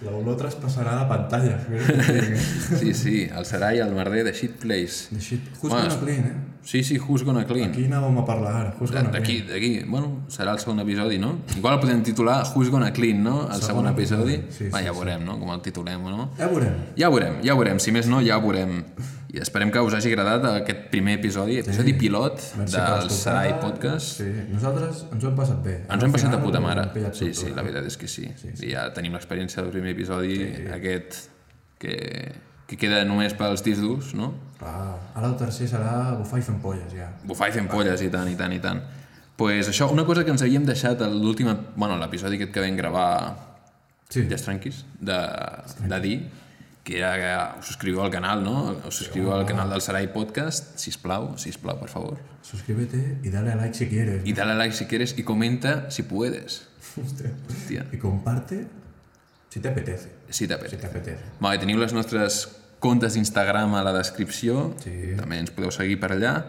Speaker 2: L'olor traspassarà la pantalla. The
Speaker 1: Sí, sí, el Sarai, el merder de Shit Place.
Speaker 2: shit. Who's
Speaker 1: Bueno,
Speaker 2: gonna clean, eh?
Speaker 1: Sí, sí, Who's Gonna Clean.
Speaker 2: Aquí anàvem a parlar ara. Who's gonna
Speaker 1: D'aquí, d'aquí. Bueno, serà el segon episodi, no? Igual el podem titular Who's Gonna Clean, no? El segon, episodi.
Speaker 2: episodi, sí,
Speaker 1: Va,
Speaker 2: sí,
Speaker 1: ja veurem, no? Com el titulem, no?
Speaker 2: clean? Ja veurem.
Speaker 1: Ja ho veurem, ja ho veurem. Si més no, ja ho veurem. I esperem que us hagi agradat aquest primer episodi, episodi pilot
Speaker 2: Merci per
Speaker 1: del
Speaker 2: escoltar.
Speaker 1: Sarai Podcast.
Speaker 2: Sí, nosaltres ens ho hem passat bé.
Speaker 1: Ens ho hem passat de puta mare.
Speaker 2: Sí,
Speaker 1: Sí, sí, la veritat és que sí. I ja tenim l'experiència del primer episodi, aquest que, que queda només pels discs durs, no?
Speaker 2: Clar, ara el tercer serà bufar i fer ampolles, ja.
Speaker 1: Bufar i fent polles i tant, i tant, i tant. pues això, una cosa que ens havíem deixat a l'última... Bueno, l'episodi aquest que vam gravar
Speaker 2: Sí,
Speaker 1: ja tranquis, de, de dir que era que us subscriviu al canal, no? Us subscriviu al canal del Sarai Podcast, si plau, si plau, per favor.
Speaker 2: suscríbete y dale a like si quieres.
Speaker 1: I dale a like si quieres i comenta si puedes.
Speaker 2: Hòstia.
Speaker 1: Hòstia,
Speaker 2: Y comparte si te apetece.
Speaker 1: si
Speaker 2: Si
Speaker 1: t'apetece.
Speaker 2: te apetece.
Speaker 1: Vale, teniu les nostres comptes d'Instagram a la descripció,
Speaker 2: Sí.
Speaker 1: també ens podeu seguir per allà,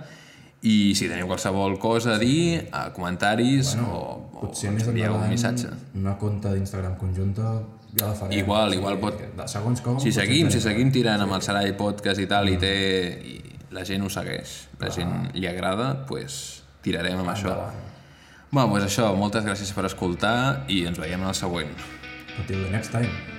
Speaker 1: i si teniu qualsevol cosa a dir, a comentaris o, o
Speaker 2: Potser
Speaker 1: ens
Speaker 2: més
Speaker 1: envieu
Speaker 2: endavant
Speaker 1: un missatge.
Speaker 2: una conta d'Instagram conjunta ja la farem.
Speaker 1: Igual, igual pot-
Speaker 2: de- Segons com...
Speaker 1: Si
Speaker 2: potser eh?
Speaker 1: seguim, si
Speaker 2: farem.
Speaker 1: seguim tirant amb el Sarai Podcast i tal, i té... I la gent ho segueix, la gent li agrada, doncs pues, tirarem amb això. Va, doncs això, moltes gràcies per escoltar i ens veiem en el següent.
Speaker 2: Until the next time.